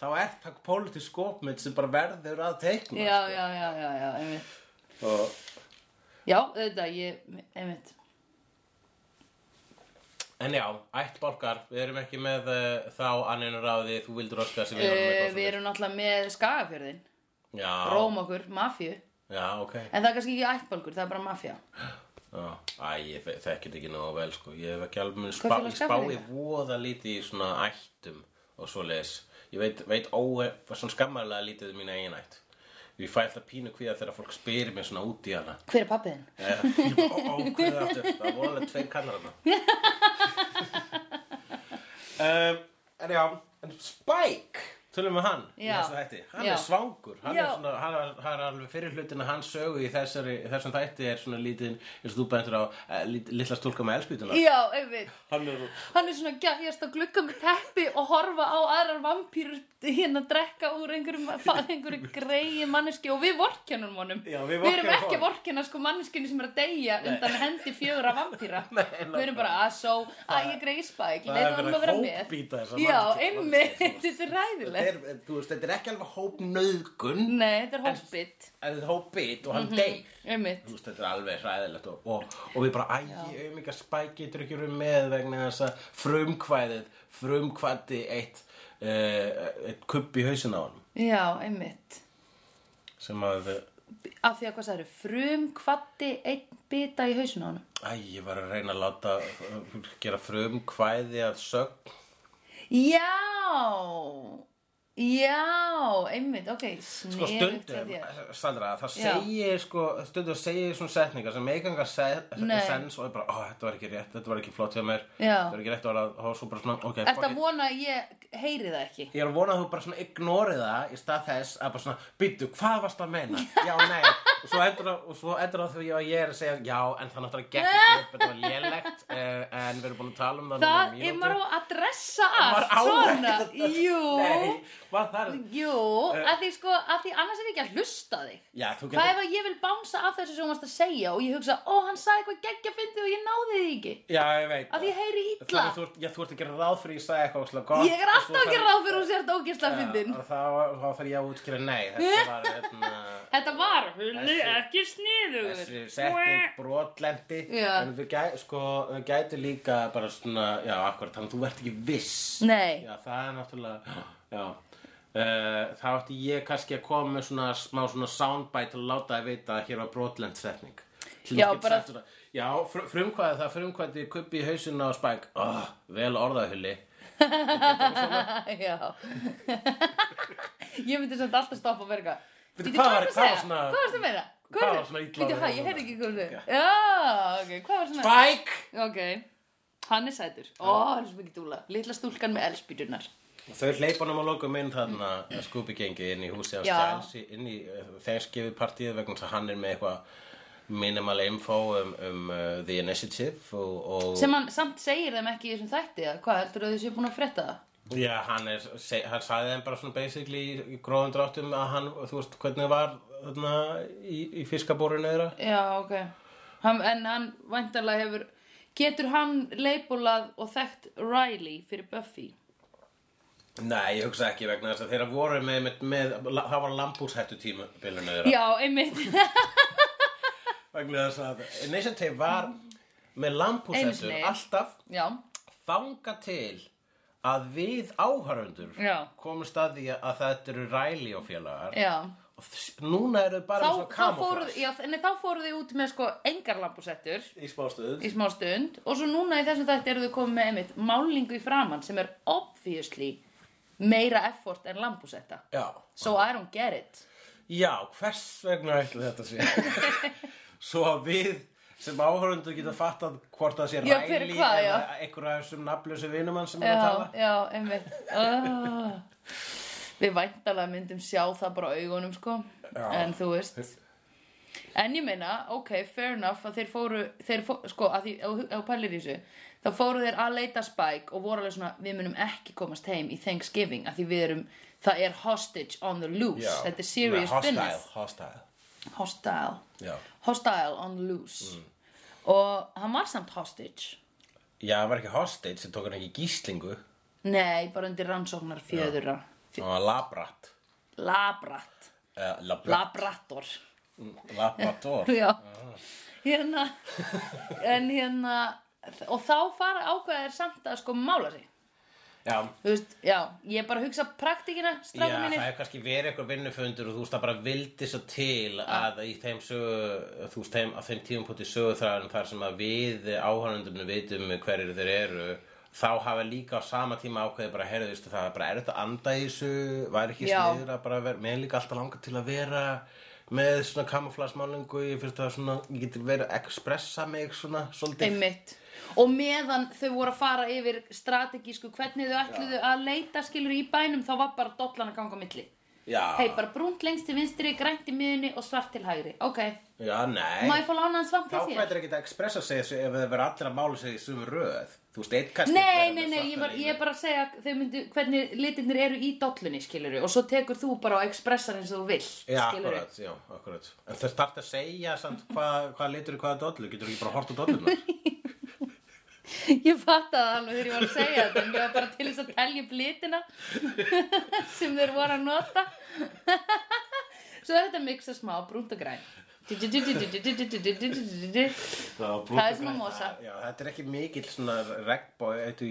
S3: þá er það pólitísk skopmynd sem bara verður að teikna sko.
S1: Já, já, já, já, já, einmitt.
S3: Og,
S1: Já, þetta, ég, einmitt.
S3: en já, ætt bálkar við erum ekki með uh, þá anninu ráði þú vildur oska sem við erum
S1: Uh,
S3: eitthvað
S1: við erum náttúrulega með skagafjörðin,
S3: svoleiðis. já,
S1: róm okkur, mafju.
S3: já, ok
S1: En það er kannski ekki ættbálgur, það er bara mafja.
S3: Já, Æ, ég þe- þekki þetta ekki nógu vel sko Ég hef ekki alveg mun
S1: Hvað
S3: spá,
S1: félag
S3: ég spái
S1: Skagfirðinga?
S3: voða lítið í svona ættum og svoleiðis Ég veit, veit óe, svona skammarlega lítið um mína eigin ætt Ég fæ alltaf pínu kvíða þegar fólk spyrir mér svona út í hana
S1: Hver er pappiðin?
S3: Eh, Ó, ó, hvað er aftur? Það voru alveg tveir kannar hana um, En já, en Spike Tölum við hann í
S1: Já.
S3: þessu þætti Hann
S1: Já.
S3: er svangur Hann er,
S1: Já.
S3: svona, hann, er- hann er alveg fyrir hlutin að hann sögu í þessari, þessum þætti er svona lítinn eins og þú bentur á uh, litla stúlka með elspýtuna
S1: Já, einmitt.
S3: Hann er
S1: Hann er svona gæjast að glugga með teppi og horfa á aðrar vampýrur hérna að drekka úr einhverju, fa- einhverju greiði manneski og við vorkenum honum.
S3: Já, við
S1: erum
S3: vorkennum
S1: ekki
S3: honum.
S1: vorkena sko manneskinu sem er að deyja undan hendi fjögur af vampýra. við erum bara að svo, að ég greiði spæk,
S3: það er
S1: leiðum honum að
S3: verið
S1: vera
S3: að
S1: með.
S3: hópbíta þessa
S1: Já,
S3: manneskju-
S1: einmitt,
S3: manneskju.
S1: þetta er
S3: Þetta
S1: ræðilegt.
S3: er, þú veist, þetta er ekki alveg hópnauðgun en
S1: Nei, þetta er hópbit,
S3: þetta er hópbit og hann
S1: Mhm.
S3: deyr
S1: einmitt.
S3: Þú veist, þetta er alveg hræðilegt og, og, og við bara, æg, auðvitað spæk getur ekki verið með vegna þess að frumkvæðið, frumkvæði eitt, uh, eitt kubb í hausin á hann
S1: Já, einmitt.
S3: sem að,
S1: Af því að hvað sagður, frum kvatti einn bita í hausinu á honum.
S3: æg, ég var að reyna að láta gera frumkvæði að sögn
S1: Já, já, einmitt, ok, sniðugt
S3: sko
S1: að
S3: stundum,
S1: þér.
S3: Sandra, það
S1: Já.
S3: segir sko, stundum segir svona setningar sem eigangar se
S1: Nei.
S3: sens og er bara, ó, þetta var ekki rétt, þetta var ekki flott hjá mér
S1: Já.
S3: þetta var ekki rétt orðað, og svo bara svona, ok, fuck
S1: Ertu
S3: it.
S1: að vona að ég heyri það ekki?
S3: Ég er að vona að þú bara svona ignorið það í stað þess að bara svona, býttu, hvað varst að meina? Já, nei. Og svo endur á- og svo endur á því að ég er að segja, já, en það náttúrulega gekk ekki upp, þetta var lélegt, eh, en við erum búin að tala um það
S1: Það
S3: núna í
S1: er
S3: mínútu.
S1: maður á að dressa allt
S3: Maður á
S1: svona,
S3: ekkert að-
S1: jú,
S3: Nei, var það?
S1: jú, að því sko, að því annars er ég ekki að hlusta á þig.
S3: Já, þú
S1: Hvað ef
S3: getur...
S1: að ég vil bánsa af þessu sem þú varst að segja og ég hugsa, ó, hann sagði eitthvað geggja fyndið og ég náði því ekki,
S3: Já, ég veit.
S1: að því ég heyri illa.
S3: Þannig þú, ert- já, þú ert að gera ráð fyrir ég sagði eitthvað óslega gott.
S1: Ég er alltaf að gera ráð fyrir hún sért ógisla fyndin.
S3: Þá, þá, þá þarf ég að útskýra, nei, þetta var, hérna,
S1: Þetta var, hullu, ekki sniðugur.
S3: þessi setning brotlendi
S1: Já.
S3: en við gæ, sko, við gætu líka bara svona, já, akkurat, þannig að þú ert ekki viss
S1: Nei.
S3: já, það er náttúrulega já, uh, þá ætti ég kannski að koma með svona smá svona soundbite til að láta að vita að hér var brotlend setning Til
S1: Já,
S3: að geta
S1: bara-
S3: sagt svona, já, fr frumkvæði það frumkvæði kubbi í hausinu á spæk oh, vel orðahulli
S1: Já Ég myndi samt alltaf stoppa og verka
S3: Bíddu,
S1: Bíddu,
S3: hvað var-
S1: ertu að
S3: hvað var
S1: segja?
S3: svona-
S1: Hvað varstu að meina?
S3: hvað
S1: er-
S3: var svona illa
S1: Bíddu,
S3: við
S1: hæ,
S3: hann
S1: ég heyrði
S3: þarna?
S1: ekki hvað þau
S3: Já.
S1: Já, ok, hvað var svona
S3: spæk
S1: Ok, hann er sætur Ó, hann er svo mikið dúla Lilla stúlkan með elspýtunar
S3: Þau hleypanum að lokum inn þarna að Scooby gengi inn í húsi á
S1: Já.
S3: Stæls inn í þengsgefið partíð vegna þess að hann er með eitthvað minimal info um, um uh, The Initiative og, og
S1: Sem hann samt segir þeim ekki í þessum þætti eða Hvað heldur þau séu búin að frétta það?
S3: já, hann, er, se, hann sagði þeim bara svona basically í gróðum dráttum að hann, þú veist hvernig var þarna í, í fiskabórinu þeirra
S1: Já, ok hann, En hann væntarlega hefur Getur hann leipulað og þekkt Riley fyrir Buffy?
S3: Nei, ég hugsa ekki vegna þess að þeirra voru með, með, með það var lambúshættu tímabilinu þeirra
S1: Já, einmitt
S3: vegna þess að Initiative var með
S1: Einu
S3: lambúshættur
S1: sinni.
S3: alltaf
S1: Já,
S3: þanga til að við áhörfundur
S1: Já.
S3: komumst að því að þetta eru ræli og félagar
S1: já
S3: og þess- núna eru þau bara
S1: þá,
S3: með svona
S1: þá, fóruð,
S3: kamuflás
S1: já, nei, þá fóruð þið út með sko engar lampusettur
S3: í spástöð
S1: í smá stund og svo núna í þessum þætti eru þið komið með einmitt málingu í framann sem er obviously meira effort en lampusetta
S3: já.
S1: so I don't get it
S3: já, hvers vegna ætli þetta sé svo að við sem áhörundu geta fattað hvort það sé
S1: Já,
S3: ræli
S1: hver er hvað, já.
S3: eða einhverja af þessum nafnlösu vinumann sem er að
S1: Já,
S3: tala
S1: já, einmitt ah. Við væntalega myndum sjá það bara á augunum sko
S3: Já.
S1: En þú veist En ég meina, ok, fair enough að þeir fóru, þeir fóru sko, að því, ef þú- ef þú pælir í þessu þá fóru þeir að leita Spike og voru alveg svona, við munum ekki komast heim í Thanksgiving að því við erum, það er hostage on the loose,
S3: Já.
S1: þetta er serious
S3: Nei, hostile,
S1: business
S3: hostile.
S1: Hostile,
S3: Já.
S1: hostile on the
S3: Mm.
S1: loose og hann var samt hostage
S3: já, hann var ekki hostage sem tók hann ekki í gíslingu
S1: nei, bara undir rannsóknar fjöðura
S3: hann var labrat
S1: labrat
S3: uh, labrat,
S1: Labrator
S3: labrador
S1: Já Hérna En hérna Og þá fara ákveðir samt að sko mála sig
S3: já,
S1: Þú veist, já Ég bara hugsa praktikina,
S3: Já,
S1: stráka mínir
S3: það hefur kannski verið eitthvað vinnufundur og þú veist það bara vildi svo til að í þeim sögu, þú veist þeim, að þeim tímpunkti söguþræðan þar sem að við áhörnundumni vitum hverjir þeir eru þá hafa líka á sama tíma ákveði bara heyrðu, veistu það, bara er þetta anda í þessu væri ekki
S1: Já.
S3: sniður að bara vera mér er líka alltaf langa til að vera með svona kamuflasmálingu, ég finnst það svona ég geti verið að expressa mig svona svolítið,
S1: Einmitt Og meðan þau voru að fara yfir strategísku hvernig þau ætluðu að leita skilur í bænum þá var bara dollan að ganga á milli
S3: já,
S1: Hei, bara brúnt lengst til vinstri, grænt í miðunni og svart til hægri Ok,
S3: já, nei
S1: má ég fá lánaðan svamp
S3: Þá
S1: til þér?
S3: fættir ekki að expressa sig þessu ef þau verður allir að mála sig í sömu röð. Þú veist, eitt kannski...
S1: Nei, nei, nei, ég, var, ég er bara að segja að þau myndu, hvernig litirnir eru í dollunni, skiluru, og svo tekur þú bara og expressar eins og þú vilt,
S3: Já,
S1: skilurðu.
S3: akkurat, já, akkurat. En þau starta að segja samt hvað hva litur í hvaða dollu. Getur ekki bara hort á dollunar?
S1: Ég fattaði það alveg þegar ég var að segja þetta, en ég var bara til þess að telja upp litina sem þeir voru að nota. svo er þetta miksa smá, brúnt og græn.
S3: Það
S1: svona mosa.
S3: Já, þetta er ekki mikill svona regnbói, eitthvað í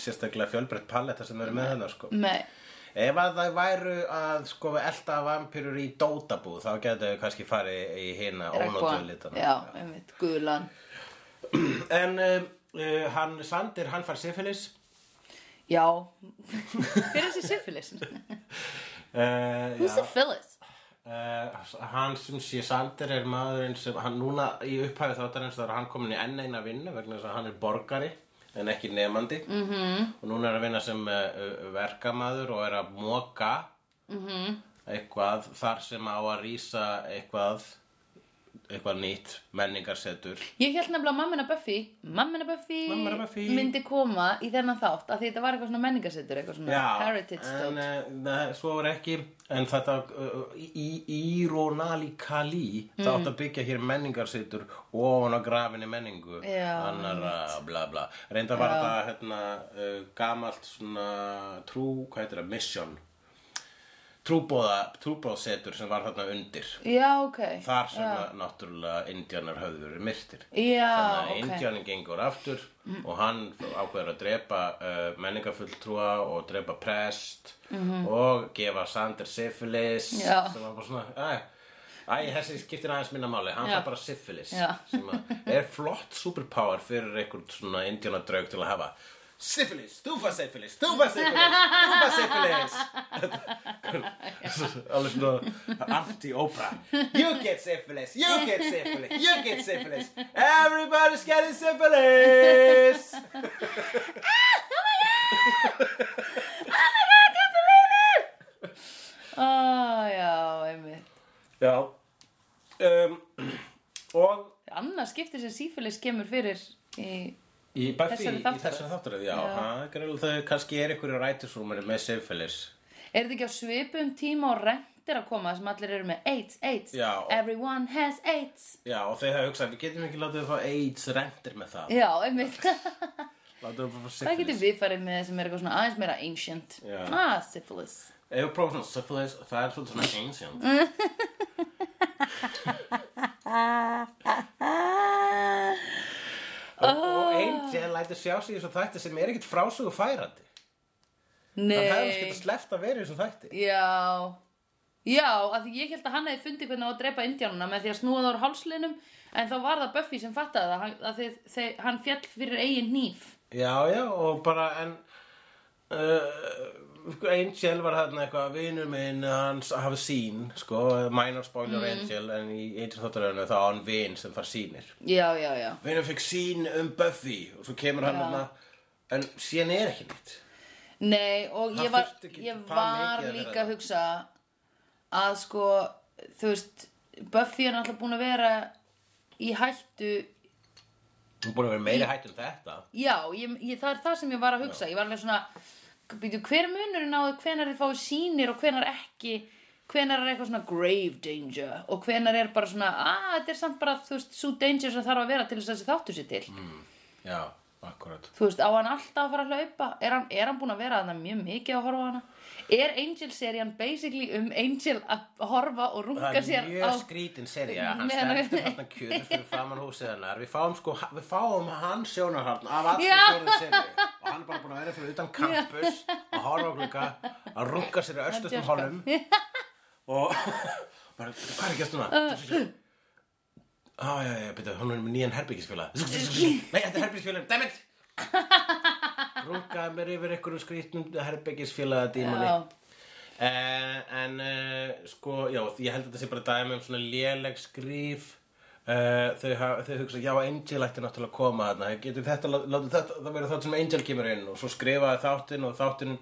S3: sérstaklega fjölbreytt paletta sem þau eru með hennar, sko.
S1: Nei,
S3: Ef að það væru að sko elda vampýrur í dótabú, þá getur þau kannski farið í hina ónóttu
S1: regnbóðan.
S3: litana.
S1: Já, einmitt, gulan.
S3: En um, uh, hann Sandir, hann fær syfilis.
S1: Já, hver er þessi syphilis?
S3: Uh,
S1: Who's syphilis?
S3: Uh, hann sem sé Sander er maðurinn sem hann núna í upphæfi þáttarins þá er hann komin í enn eina vinnu vegna þess að hann er borgari en ekki nefandi -hmm. og núna er að vinna sem uh, verkamaður og er að móka -hmm. eitthvað þar sem á að rýsa eitthvað eitthvað nýtt menningarsetur
S1: Ég held nefnilega að mammina Buffy, mammina Buffy,
S3: Mammina Buffy.
S1: myndi koma í þennan þátt af því þetta var eitthvað svona menningasettur, eitthvað svona heritage
S3: en
S1: þátt.
S3: uh, neð, svo er ekki en þetta uh, írónali kali mm. það átt að byggja hér menningarsitur ofan á grafinni menningu
S1: Já,
S3: annara bla bla reynda var þetta hérna, uh, gamalt svona trú, hvað heitir það, mission trúbóða trúbóðsetur sem var þarna undir
S1: Já, ok.
S3: þar sem að náttúrulega indjánar höfðu verið myrtir
S1: Já,
S3: þannig að
S1: ok. Mm.
S3: indjánin gengur aftur og hann ákveður að drepa uh, menningafulltrúa og drepa prest og gefa Sander syphilis
S1: Mhm. Já.
S3: sem var bara svona æ, æ, þessi skiptir aðeins minna máli hann
S1: Já.
S3: fær bara syphilis
S1: Já.
S3: sem að er flott superpower fyrir einhvern svona indjánadraug til að hafa Syphilis, þú fær syphilis, þú fær syphilis, þú fær syphilis alveg svona anti-opera You get syphilis, you get syphilis, you get syphilis Everybody's getting syphilis
S1: Á, já, einmitt.
S3: Já um, Og
S1: Annað skipti sem sífélis kemur fyrir í...
S3: í Buffy,
S1: Þessari
S3: í
S1: þáttaröð.
S3: þessari þáttaröð, já, já. Greinlega, þau kannski er einhverju rætisrúmari með syphilis
S1: Er þetta ekki á svipum tíma og rentir að koma sem allir eru með AIDS, AIDS,
S3: Já.
S1: everyone has AIDS.
S3: Já, og þau hafa hugsað, við getum ekki látið að fá AIDS rendir með það
S1: Já, einmitt.
S3: Látið að fá syphilis
S1: Það getur við farið með sem er eitthvað svona aðeins meira ancient.
S3: Já.
S1: Ah, syphilis.
S3: Ef við prófum svona syphilis, það er svolítið svona ancient og, og Angel lætur sjá sig í þessu þætti sem er ekkert frásögu færandi
S1: Nei.
S3: Það hefði skett að sleppt að vera í þessu þætti
S1: Já Já, af því ég held að hann hefði fundið hvernig á að drepa indjánuna með því að snúa það úr hálslinum en þá var það Buffy sem fattaði það hann- að þið, þið, hann fjall fyrir eigin nýf
S3: Já, já, og bara en uh, sko, Angel var þarna eitthvað vinur minn, hann s- hafi sín sko, minor spoiler Angel en í Angel þáttaröðinu þá á hann vin sem far sínir
S1: já, já, já.
S3: vinur fikk sín um Buffy og svo kemur hann
S1: Já.
S3: þarna en síðan er ekki nýtt
S1: Nei, og
S3: Það
S1: ég var,
S3: þurfti ekki
S1: ég
S3: það
S1: var
S3: mikið að vera
S1: líka
S3: það.
S1: að hugsa að sko, þú veist, Buffy er náttúrulega búin að vera í hættu
S3: hún er búin að vera meiri hætt um þetta
S1: Já, ég, ég, það er það sem ég var að hugsa Ég var alveg svona, býtu, hver munurinn á því hvenar þið fáið sýnir og hvenar ekki hvenar er eitthvað svona grave danger og hvenar er bara svona að þetta er samt bara, þú veist, svo danger sem þarf að vera til þess að þessi þáttu sér til
S3: Mm. já, akkurat
S1: Þú veist, á hann alltaf að fara að hlaupa er hann, er hann búin að vera að það mjög mikið að horfa á hana Er Angel-serían basically um Angel að horfa og
S3: Það
S1: runga
S3: er
S1: sér
S3: mjög
S1: á
S3: skrítin serja, hann
S1: Meðan-
S3: stendur þarna kjöður fyrir framann húsið hennar. Við fáum sko, við fáum hann sjónarharn af allir
S1: Já.
S3: fjórðu serju og hann er bara búin að vera fyrir utan campus að horfa á glugga, að runga sér í östutum
S1: djóskar.
S3: holum og bara, hvað er ekki
S1: Uh.
S3: að stuna? Á, já, já, byrja, hún er með nýjan herbyggisfélag. Nei, þetta er herbyggisfélag, dammit! Rungaði mér yfir einhverju skrítnum herbyggisfélaga dímoni.
S1: Já.
S3: Uh, en uh, sko, já, ég held að þetta sé bara dæmi um svona léleg skrýf uh, þau, ha- þau hugsa, já, Angel ætti náttúrulega að koma þarna getur þetta, lá- látum þetta, það verður þátt sem Angel kemur inn og svo skrifaði þáttinn og þáttinn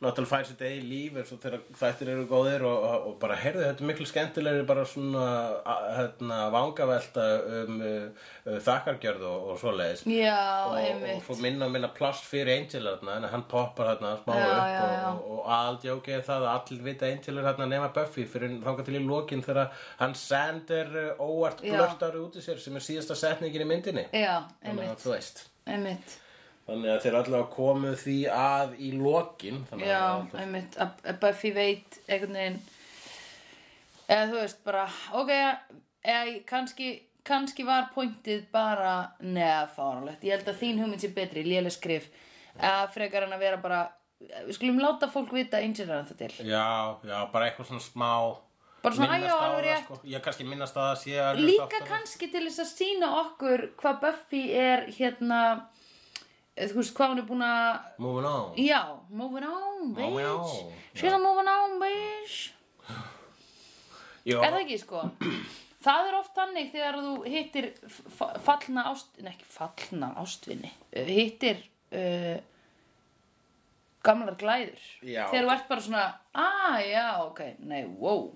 S3: náttúrulega fær sitt eigin líf eins og þegar þættir eru góðir og, og, og bara, heyrðu, þetta er miklu skemmtilegri bara svona, a- hérna, vangavelta um uh, uh, þakkargjörð og, og svoleiðis
S1: Já,
S3: og, og
S1: einmitt
S3: svo minna og minna pláss fyrir Angel þarna, en hann poppar þarna smá
S1: Já,
S3: upp
S1: já, já.
S3: og, og, og aldjókið er það að allir vita að Angel er þarna nema Buffy fyrir þangað til í lokin þegar hann sendir uh, óvart
S1: Já.
S3: blörtar út í sér sem er síðasta setningin í myndinni
S1: Já,
S3: þannig að
S1: einmitt,
S3: þú veist
S1: einmitt
S3: þannig að þeir allavega komu því að í lokin þannig að
S1: Já, einmitt, að að Buffy veit einhvern veginn eða þú veist bara, ok eða kannski, kannski var pointið bara, neða, fáránlegt ég held að þín hugmynd sé betri, léleg skrif að frekar hann að vera bara við skulum láta fólk vita að Angel er að það til
S3: já, já, bara eitthvað svona smá
S1: bara svona,
S3: minnast
S1: æjá,
S3: á
S1: alveg
S3: það,
S1: rétt
S3: sko. ég kannski minnast á það að sé að
S1: líka kannski til þess að sína okkur hvað Buffy er hérna eh, þú veist, hvað hún er búin að
S3: moving on
S1: Já, moving on, bitch
S3: Moving
S1: moving
S3: on,
S1: on. She's moving on, bitch
S3: Jó,
S1: Er það ekki sko? Það er oft þannig þegar þú hittir fa- fallna ástvinni, ekki fallna ástvinni, uh, hittir uh, gamlar glæður.
S3: Já.
S1: Þegar þú ert bara svona, ah, já, ok, nei, wow.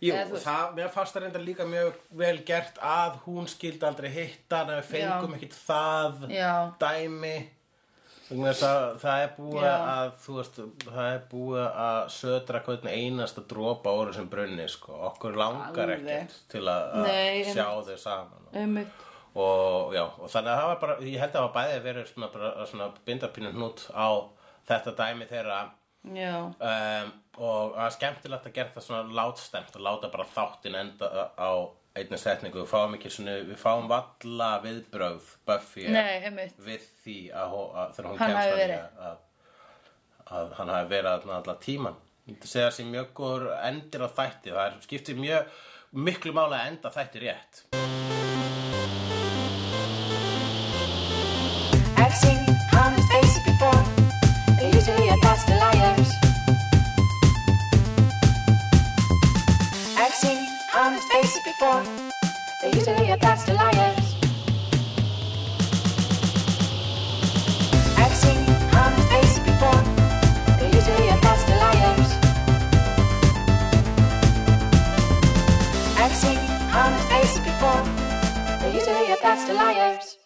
S3: Jú,
S1: Eða þú veist.
S3: það, mér fannst það reyndar líka mjög vel gert að hún skildi aldrei hitta en að við fengum
S1: Já.
S3: ekkit það
S1: Já.
S3: dæmi Vegna þess að það er búið
S1: Já.
S3: að þú veist, það er búið að södra hvern einasta dropa úr þessum brunni sko. okkur langar
S1: Alveg.
S3: ekkert til að,
S1: Nei,
S3: að
S1: einmitt.
S3: sjá þau saman
S1: Einmitt.
S3: og, já, og þannig að það var bara ég held að það var bæði verið svona, bara, svona bindapínu hnút á þetta dæmi þeirra
S1: Já,
S3: um, og það er skemmtilegt að gera það svona látstemt og láta bara þáttinn enda á einni setningu við fáum ekki svona, við fáum valla viðbrögð Buffy
S1: nei, einmitt.
S3: við því að, hó- að þegar hún
S1: Hann
S3: kemst
S1: hafi
S3: að því
S1: verið.
S3: að, að, að hann hafi verið þarna allan tíman ég myndi segja þessi mjög góður endir á þætti það er, skiptir mjög miklu máli að enda þætti rétt
S4: I've seen honest faces before. They're usually a bunch of liars. I've seen honest faces before. They're usually a bunch of liars. I've seen honest faces before. They're usually a bunch of liars. I've seen honest faces before. They're usually a bunch of liars.